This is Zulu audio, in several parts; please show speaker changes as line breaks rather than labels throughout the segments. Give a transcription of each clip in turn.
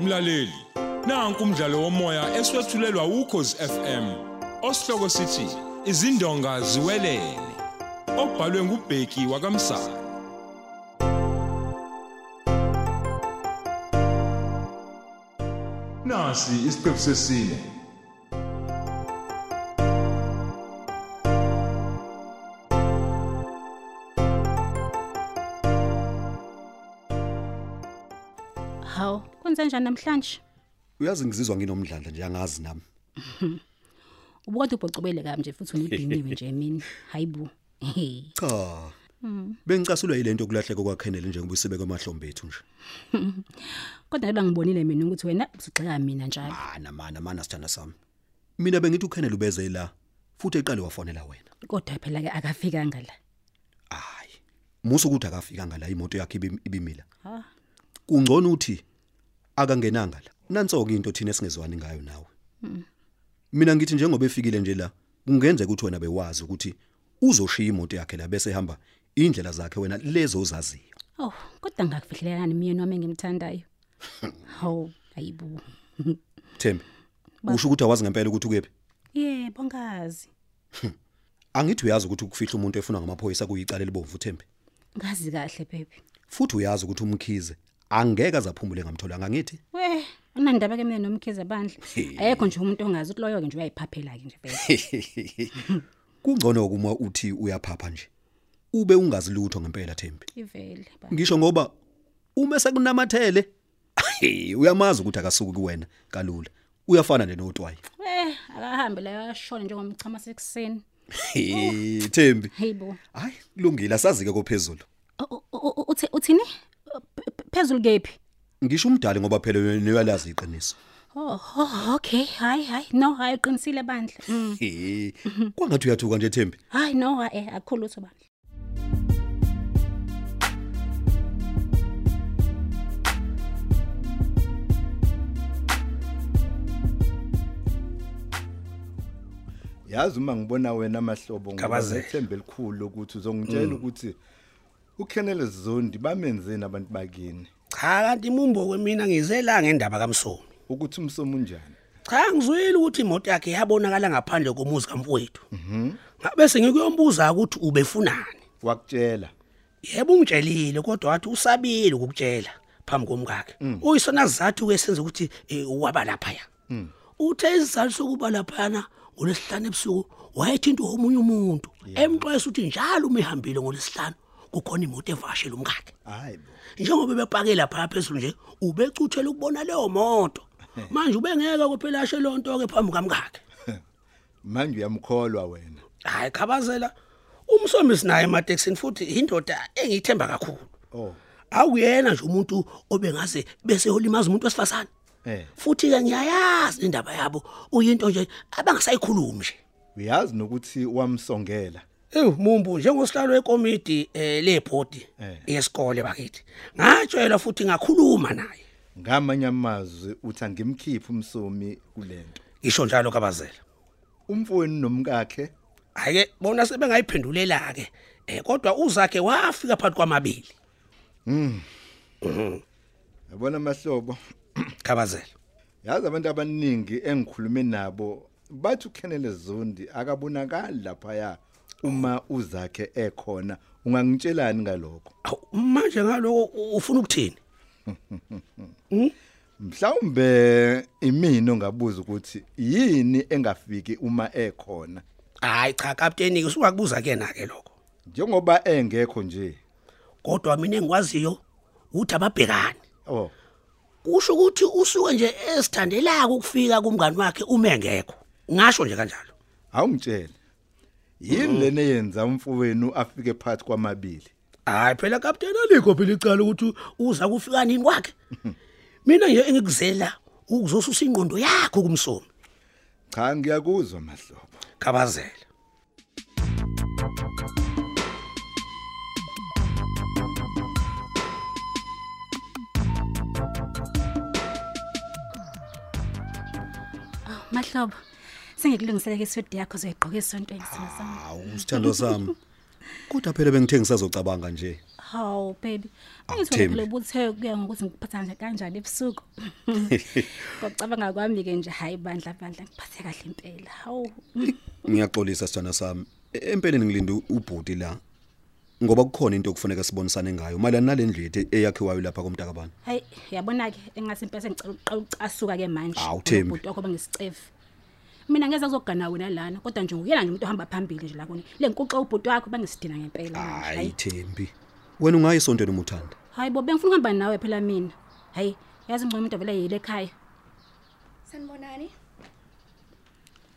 Mlaleli, nanku umdlalo womoya eswetshulelwa ukhozi FM. Osihloko sithi izindonga ziwelele. Obhalwe ngubheki wakamsana. Nasi isiqephu sesine.
Hawu, kwenze njani namhlanje?
uyazi ngizizwa nginomdlandla nje angazi nami
Ubukade ubhocobele kami nje futhi unibhinqiwe nje emini. Hayibo.
cha bengicasulwa yilento kulahleko kwakhenele nje ngibuyisebe kwamahlombe ethu nje
Kodwa ke bangibonile mina ukuthi wena usugxeka mina njalo.
mana Ah, mana mana sithanda sami mina bengithi ukhenele ubeze la futhi eqale wafonela wena
Kodwa phela ke akafikanga la.
hayi musu ukuthi akafikanga la imoto yakhe ibi- ibimila
Ha.
kungcono uthi akangenanga la nansoke into thina singezwani ngayo nawe mina ngithi njengoba efikile nje la kungenzeka ukuthi wena bewazi ukuthi uzoshiya imoto yakhe la bese ehamba indlela zakhe wena lezo ozaziyo
Oh, kodwa ngakufihlelelani mina noma engimthandayo. Hawu, hayibo.
Thembi usho ukuthi awazi ngempela ukuthi ukephi
Yebo, ngazi.
Angithi uyazi ukuthi ukufihla umuntu efuna ngamaphoyisa kuyicala libomvu Thembi.
Ngazi kahle baby.
Futhi uyazi ukuthi umkhize angeke azaphumule ngamthola ngangithi.
We, unandaba ke mina nomkhize bandla. Ayekho nje umuntu ongazi ukuthi loyo ke nje uyayiphaphela ke nje baby.
Kungcono ukuma uthi uyaphapha nje. Ube ungazi lutho ngempela Thembi.
Ivele. bandla.
Ngisho ngoba uma sekunamathele uyamazi ukuthi akasuki kuwena kalula. Uyafana nje notwayi.
We, akahambe la yashona njengomchama sekuseni.
Thembi.
Hayibo.
Hayi kulungile asazike kophezulu.
O- o- o- uthi uthini P- p- phezulu kephi
Ngisho umdali ngoba phela uyalazi iqiniso.
oh, oh okay hayi hayi no hayi uqinisile bandla mm.
Kwangathi uyathuka nje Thembi.
hayi no eh akukho lutho bandla
yazi uma ngibona wena mahlobo
Gabazela.
ngithemba elikhulu ukuthi uzongitshela ukuthi uKenneth Zondi bamenzeni abantu bakini
cha kanti imumbo kwemina ngizelanga indaba kamsomi
ukuthi umsomo unjani
cha ngizwile ukuthi imoto yakhe yabonakala ngaphandle komuzi kamfowethu ngabe sengikuyombuza ukuthi ubefunani
wakutshela
yebo ungitshelile kodwa wathi usabile ukukutshela phambi komkakhe uyisona sizathu ke senza ukuthi eh, waba lapha ya uthe isizathu sokuba laphana ngolesihlanu ebusuku wayethinta omunye umuntu emxwayisa ukuthi njalo uma ehambile ngolesihlanu kukhona imoto evashela umkakhe
hayi bo
njengoba bepake lapha phezulu nje ubecuthela ukubona leyo moto manje ubengeke kophelashe lonto ke phambi kamkakhe
manje uyamkholwa wena
hayi khabazela umsombisi naye ematekisini futhi indoda engiyithemba kakhulu
oh
awuyena nje umuntu obengaze bese holimaza umuntu wesifazane
eh
futhi ke ngiyayazi indaba yabo uyinto nje abangasayikhulumi nje
uyazi nokuthi wamsongela
Ew mumbu njengosihlalo wekomidi eh lebhodi
Eh.
yesikole bakithi ngatshela futhi ngakhuluma naye
ngamanye amazwi uthi angimkhiphi umsomi kulento
ngisho njalo kabazela
umfowenu nomkakhe
Hayike bona sebengayiphendulela ke. Eh kodwa uzakhe wafika phakathi kwamabili.
yabona mahlobo
Khabazela.
yazi abantu abaningi engikhulume nabo bathi uKenneth Zondi akabonakali laphaya uma uzakhe ekhona ungangitshelani ngalokho
Awu, Manje ngaloko u- ufuna ukuthini?
mhlawumbe imini ongabuza ukuthi yini engafiki uma ekhona
Hayi cha captain ke usungakubuza kena ke lokho.
njengoba engekho nje
Kodwa mina engikwaziyo uthi ababhekani.
oh
Kusho ukuthi usuke nje esithandelaka ukufika kumngani wakhe uma engekho. Ngasho nje kanjalo.
awungitshele yini lena yenza umfowenu afike phakathi kwamabili
Hayi phela captain alikho phela icala ukuthi uza kufika nini kwakhe. Mina nje engikuzela ukuzosusa ingqondo yakho kumsomi.
cha ngiyakuzwa mahlobo
Khabazela.
mahlobo sengikulungiseleke iswedi yakho zoyigqoka esontweni sina sami
Hawu sithando sami. Kodwa phela bengithe ngisazocabanga nje.
hawu baby
Awuthembi.
angithokozele ubuthe kuya ngokuthi ngiphatha nje kanjani ebusuku ngokucabanga kwami-ke nje hhayi bandla bandla ngiphathe kahle impela hawu
Ngiyaxolisa sithana sami. E- Empeleni ngilinde ubhuti la. Ngoba kukhona into okufuneka sibonisane ngayo. Malana nalendlu yethu eyakhiwayo lapha komntakabani.
hayi yabona-ke engathi impela sengicela ukuqa- ukucasuka-ke manje
Awuthembi.
ubhuti wakho bengisicevu mina ngeza kuzogana wena lana kodwa nje nguyena nje umuntu ohamba phambili nje lakoni le nkuxa ubhuti wakho bangisidina ngempela manje,
Hayi Thembi. Wena ungayisontweni umuthanda.
hayi bo bengifuna ukuhamba nawe phela mina hayi yazi ngcono umuntu avele yile ekhaya
sanibonani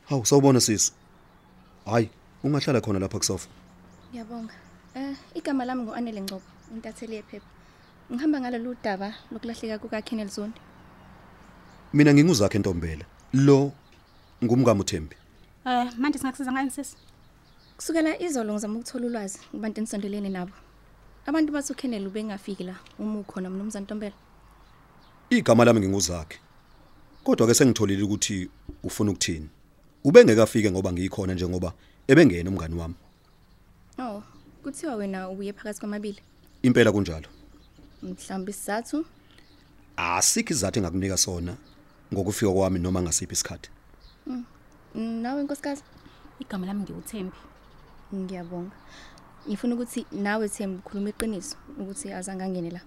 Hawu sawubona sisi. Hayi ungahlala khona lapha kusofa.
ngiyabonga um igama lami ngu-anele ngcobo intatheli yephepha ngihamba ngalolu daba lokulahleka kukakenel zondi
Mina nginguzakhe Ntombela. Lo ngumkamu Thembi.
um manje singakusiza ngani sisi
kusukela izolo ngizama ukuthola ulwazi kubantu enisondelene nabo abantu bathi ukenel ubengafiki la uma ukhona mnumzane ntombela
Igama lami nginguzakhe. Kodwa ke sengitholile ukuthi ufuna ukuthini. Ubengekafike ngoba ngikhona njengoba ebengena umngani wami.
oh kuthiwa wena ubuye phakathi kwamabili
Impela kunjalo.
mhlawumbe isizathu
asikho izathu engakunika sona ngokufika kwami noma ngasiphi isikhathi
nawe nkosikazi
igama lami ngiwuthembi
ngiyabonga ngifuna ukuthi nawe thembi ukhuluma iqiniso ukuthi azange angene la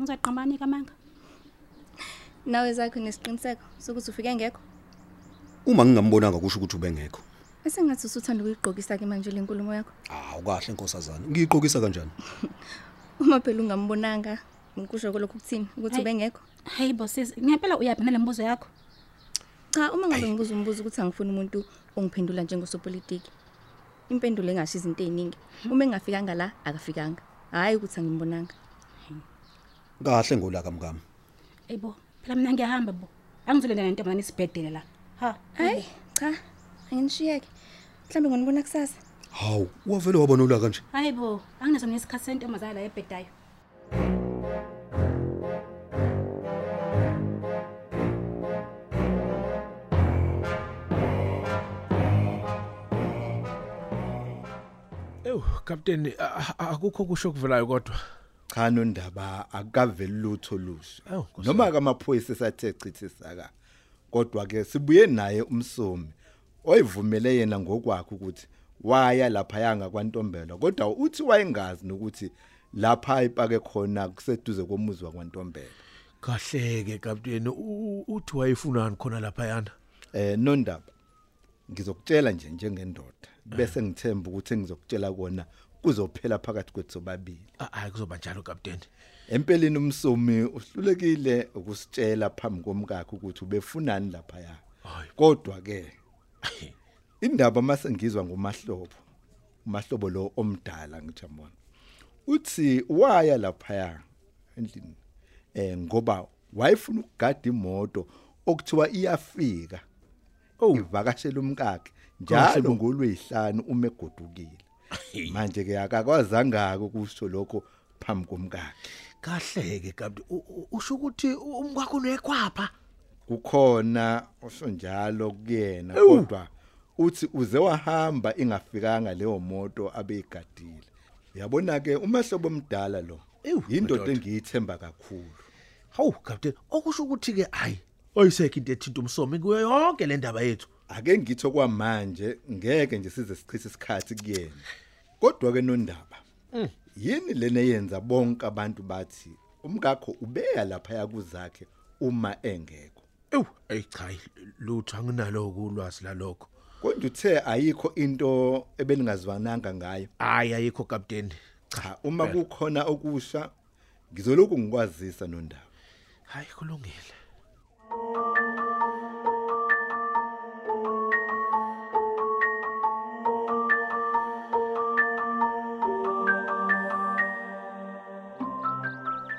ngizaqambanika amanga
nawe zakho nesiqiniseko sokuthi ufike ngekho
uma ngingambonanga kusho ukuthi ubengekho
esengathi usuthanda ukuyigqokisa-ke manje le nkulumo yakho
hawu kahle nkosazana ngiyiqokisa kanjani
uma phela ungambonanga ngikusho kolokhu kuthini ukuthi
Hayi.
ubengekho
hayi bo sisi ngempela uyaphi nale mbuzo yakho
cha uma ngabe ngibuza umbuzo ukuthi angifuni umuntu ongiphendula njengosopolitiki impendulo engasho izinto ey'ningi uma engafikanga la akafikanga hhayi ukuthi angimbonanga
kahle ngolaka mkami
eyi bo phela mina ngiyahamba bo angizolenda nentombazane isibhedele la ha
hhayi cha anginishiyeke mhlawumbe ngonibona kusasa
hawu wavele wabona ulaka nje
hayi bo angineso nesikhathi sentombazane la ebhedayo
ewu kapteni a- a- akukho kusho okuvelayo kodwa
cha nondaba akaveli lutho lusha
Awu, Nkosi
noma kamaphoyisa esathe chithisaka kodwa ke sibuye naye umsomi oyivumele yena ngokwakhe ukuthi waya lapha yanga kwantombela kodwa uthi wayengazi nokuthi lapha ipake khona kuseduze komuzi wakwantombela
kahle-ke kapteni u- u- uthi wayefunani khona laphayana
eh nondaba ngizokutshela nje njengendoda bese ngithemba ukuthi engizokutshela kona kuzophela phakathi kwethu sobabili
Ah, hayi kuzoba njalo kapteni
Empeleni umsomi uhlulekile ukusitshela phambi komkakhe ukuthi ubefunani lapha ya.
Hayi.
Kodwa ke indaba mase ngizwa ngomahlobo. Umahlobo lo omdala ngijamona. Uthi waya lapha ya endlini. Eh ngoba wayefuna ukugada imoto okuthiwa iyafika. Ivakashela umkakhe njalo ngolwesihlanu uma egodukile. Manje ke akakwazanga ukusho lokho phambi komkakhe.
kahle-ke kapteni U- u- usho ukuthi umkwakho unekwapha
kukhona osonjalo kuyena kodwa uthi uze wahamba ingafikanga leyo moto abeyigadile uyabona ke umahlobo omdala lo
Ewu,
yindoda
madoda.
engiyithemba kakhulu
hawu kapteni okusho ukuthi-ke hayi oyisekho into ethinta umsomi kuyo yonke le ndaba yethu
ake ngitho kwamanje ngeke nje size sichithe isikhathi kuyena kodwa ke nondaba
Mm.
yini lena yenza bonke abantu bathi umkakho ubeya lapha yakuzakhe uma engekho
ewu eyi cha lutho anginalo kulwazi lalokho
konje uthe ayikho into ebeningazwananga ngayo
hayi ayikho kapteni
cha uma kukhona okusha ngizoloku ngikwazisa nondaba
hayi kulungile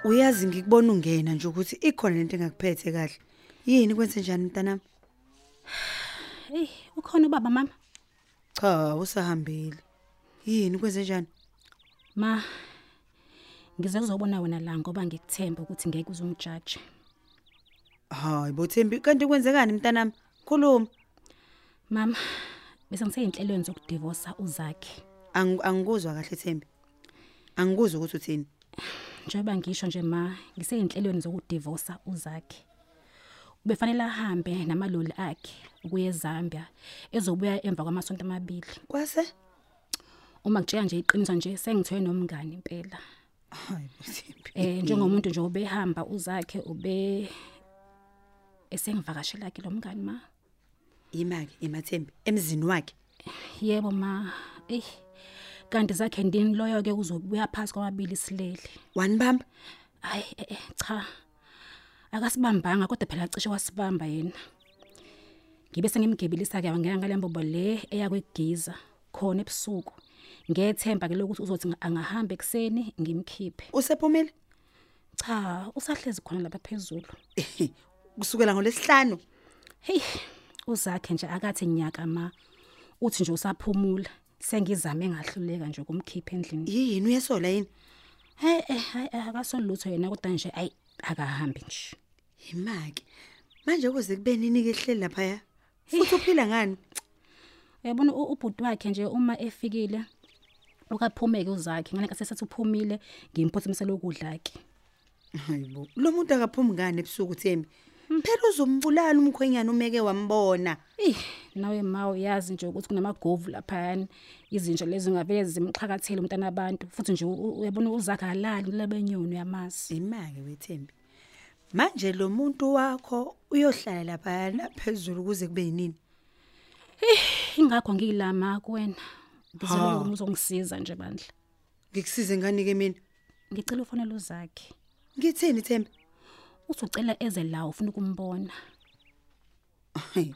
uyazi ngikubona ungena nje ukuthi ikhona lento engakuphethe kahle yini kwenze njani mntanami
eyi ukhona ubaba mama
cha usahambile yini kwenze njani
ma ngize kuzobona wena la ngoba ngikuthemba ukuthi ngeke uzungijaji
hayi bothembi kanti kwenzekani mntanami khuluma
mama bese ngiseyinhlelweni zokudivosa uzakhe
Angi- angikuzwa kahle thembi angikuzi ukuthi uthini
njengoba ngisho nje ma ngiseyinhlelweni zokudivorsa uzakhe ubefanele ahambe namaloli akhe ukuye eZambia ezobuya emva kwamasonto amabili
kwase
uma ngitshela nje iqiniso nje sengithiwe nomngani impela
hayi bosimbi
eh njengomuntu nje obehamba uzakhe ube esengivakashela ke lo mngani ma
imake emathembi emzini wakhe
yebo ma eh kanti zakhe ndini loyo ke uzobuya phansi kwamabili silele
wanibamba
hayi eh, eh, cha akasibambanga kodwa phela cishe wasibamba yena ngibe sengimgebelisa ke ngeke ngalembobo le eya kwegiza khona ebusuku ngethemba ke lokuthi uzothi angahamba ekseni ngimkhiphe
usephumile
cha usahlezi khona lapha phezulu
kusukela ngolesihlanu
hey uzakhe nje akathi nyaka ma uthi nje usaphumula sengizame ngahluleka nje kumkhipha endlini
yini uyesola yini
hey eh hayi akasolutho yena kodwa nje ayi akahambi nje
imake manje ukuze kube nini ke ehleli laphaya futhi uphila ngani
uyabona u- ubhuti wakhe nje uma efikile ukaphumeke uzakhe ngale kasesathi uphumile ngimphothimisela ukudla ke
hayibo lo muntu akaphumi ngani ebusuku thembi phela uzombulala umkhwenyana umeke wambona
Eh nawe ma uyazi nje ukuthi kunamagovu laphayani izinto lezi ngavele zimxhakathele umntana abantu futhi nje u- uyabona uzakhe alali labenyoni yamazi
imake wethembi manje lo muntu wakho uyohlala laphayana phezulu kuze kube yinini
ingakho ngilama kuwena ngizoloko ngizongisiza nje bandla
ngikusize ngani ke mina
ngicela ufonele uzakhe
ngitheni thembi
uthi ucela eze la ufuna ukumbona
Hayi.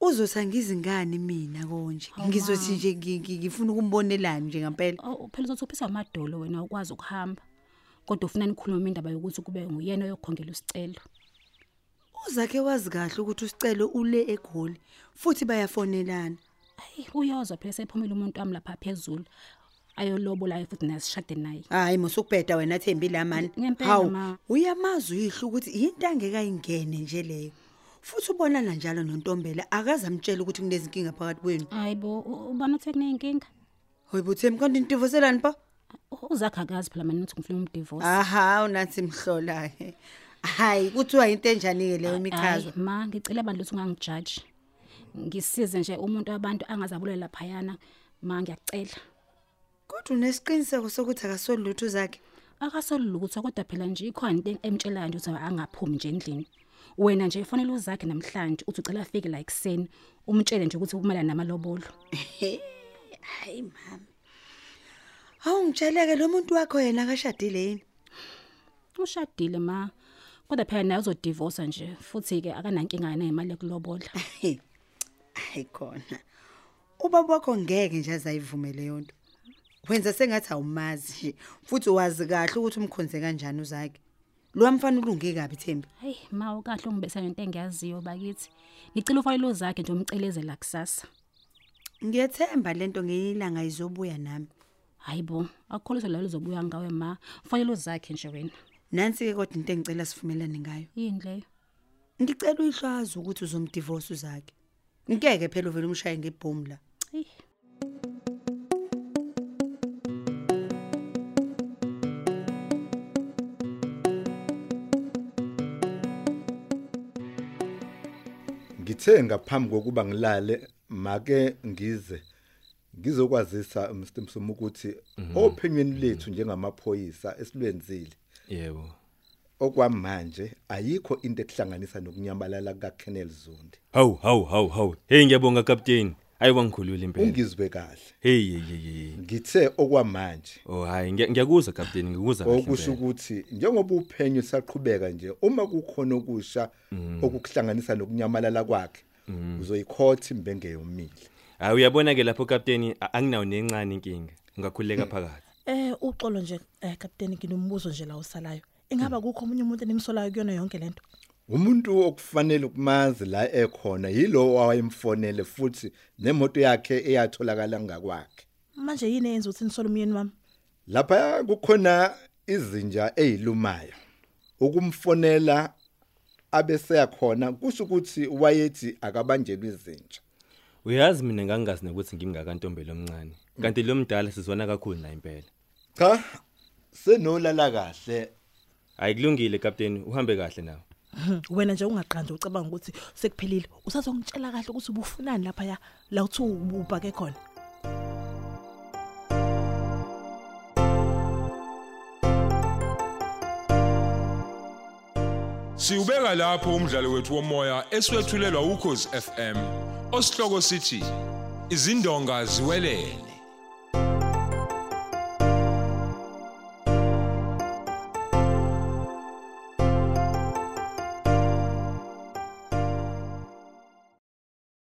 uzothangiza ingane mina konje ngizothi nje ngi- ngi- ngifuna ukumbonelani nje ngampela
Oh, phela uzothi uphisa amadolo wena ukwazi ukuhamba kodwa ufuna nikhulume indaba yokuthi kube nguyena oyokhongela isicelo
uzakhe wazi kahle ukuthi usicelo ule egoli futhi bayafonelana
Ayi, uyozwa phela sephumile umuntu wami lapha phezulu ayolobolayo futhi nasishade naye
hayi mosukubheda wena thembi lamani
Ngempela, ma.
uyamazi uyihle ukuthi yinto angekayingene nje leyo futhi ubonana njalo nontombela akaze amtshela ukuthi kunezinkinga phakathi kwenu
hayibo u- ubani uthe kuneyinkinga
hoyi buthembi kanti nitivoselani pa
U- uzakhe akazi phela mani ukuthi ngifuna umdivorce
aha unathi mhlolahe hhayi kuthiwa yinto enjani-ke leyo
Hayi,
imikhazo
ma ngicela abantu ukuthi ungangijaji ngisize nje umuntu wabantu angazabulela phayana ma ngiyakucela
kodwa unesiqiniseko sokuthi akasolilutho zakhe
akasolulutho kodwa phela nje ikhona into emtshelayo nje ukuthi angaphumi nje endlini wena nje fanele uzakhe namhlanje uthi ucela afike la ekuseni umtshele nje ukuthi kumela namalobolo
hayi mami awungitsheleke lo muntu wakho yena akashadile yini
ushadile ma kodwa phela naye uzodivosa nje futhi-ke akanankinga yena imali yokulobola
hayi khona ubaba wakho ngeke nje azayivumele leyo nto wenza sengathi awumazi nje futhi wazi kahle ukuthi umkhonze kanjani uzakhe lo mfana ulunge kabi thembi
hayi ma ukahle ungibesa ngento engiyaziyo bakithi ngicela ufanele uzakhe nje umcelezela kusasa
ngiyethemba lento ngeyilanga izobuya nami
hayi bo akukholiswa lalo uzobuya ngawe ma ufanele uzakhe nje wena
nansi-ke kodwa into engicela sivumelane ngayo
yini leyo
ngicela uyihlazi ukuthi uzomdivosa uzakhe ngeke phela uvele umshaye ngebhomu la
eyi
Ngithe ngaphambi kokuba ngilale make ngize ngizokwazisa Mr Msomo ukuthi ophenyweni lethu njengamaphoyisa esilwenzile
yebo
okwamanje ayikho into ekuhlanganisa nokunyamalala kaKennel Zondi.
hawu hawu hawu hawu hey ngiyabonga captain hayi wangikhulula impela
Ungizwe kahle.
hey hey hey, hey
Ngithe okwamanje
oh hayi ngiya- ngiyakuzwa captain ngikuzwa kahle
okusho
impela.
ukuthi njengoba uphenyo saqhubeka nje uma kukhona okusha okukuhlanganisa nokunyamalala kwakhe uzoyikhotha imbengeyo yomile
hayi uyabona ke lapho captain a- anginawo nencane inkinga ungakhululeka phakathi
Eh uxolo nje eh captain nginombuzo nje la usalayo. Ingaba kukho omunye umuntu enimsolayo kuyona yonke lento?
umuntu okufanele kumazi la ekhona yilowo owayemfonele futhi nemoto yakhe eyatholakala ngakwakhe
Manje yini eyenza ukuthi nisole umyeni wami?
lapha kukhona izinja ezilumayo ukumfonela abese yakhona kusho ukuthi wayethi akabanjelwe izinja
uyazi mina ngangazi nokuthi ngimngakantombela omncane kanti lo mdala sizwana kakhulu naye impela
Cha senolala kahle.
Ayikulungile kapteni, uhambe kahle nawe.
wena nje ungaqanda ucabanga ukuthi sekuphelile usazongitshela kahle ukuthi ubufunani laphaya la uthi ubhake khona
Siubeka lapho umdlalo wethu womoya eswetshulelwa ukhozi FM. Osihloko sithi izindonga ziwelele.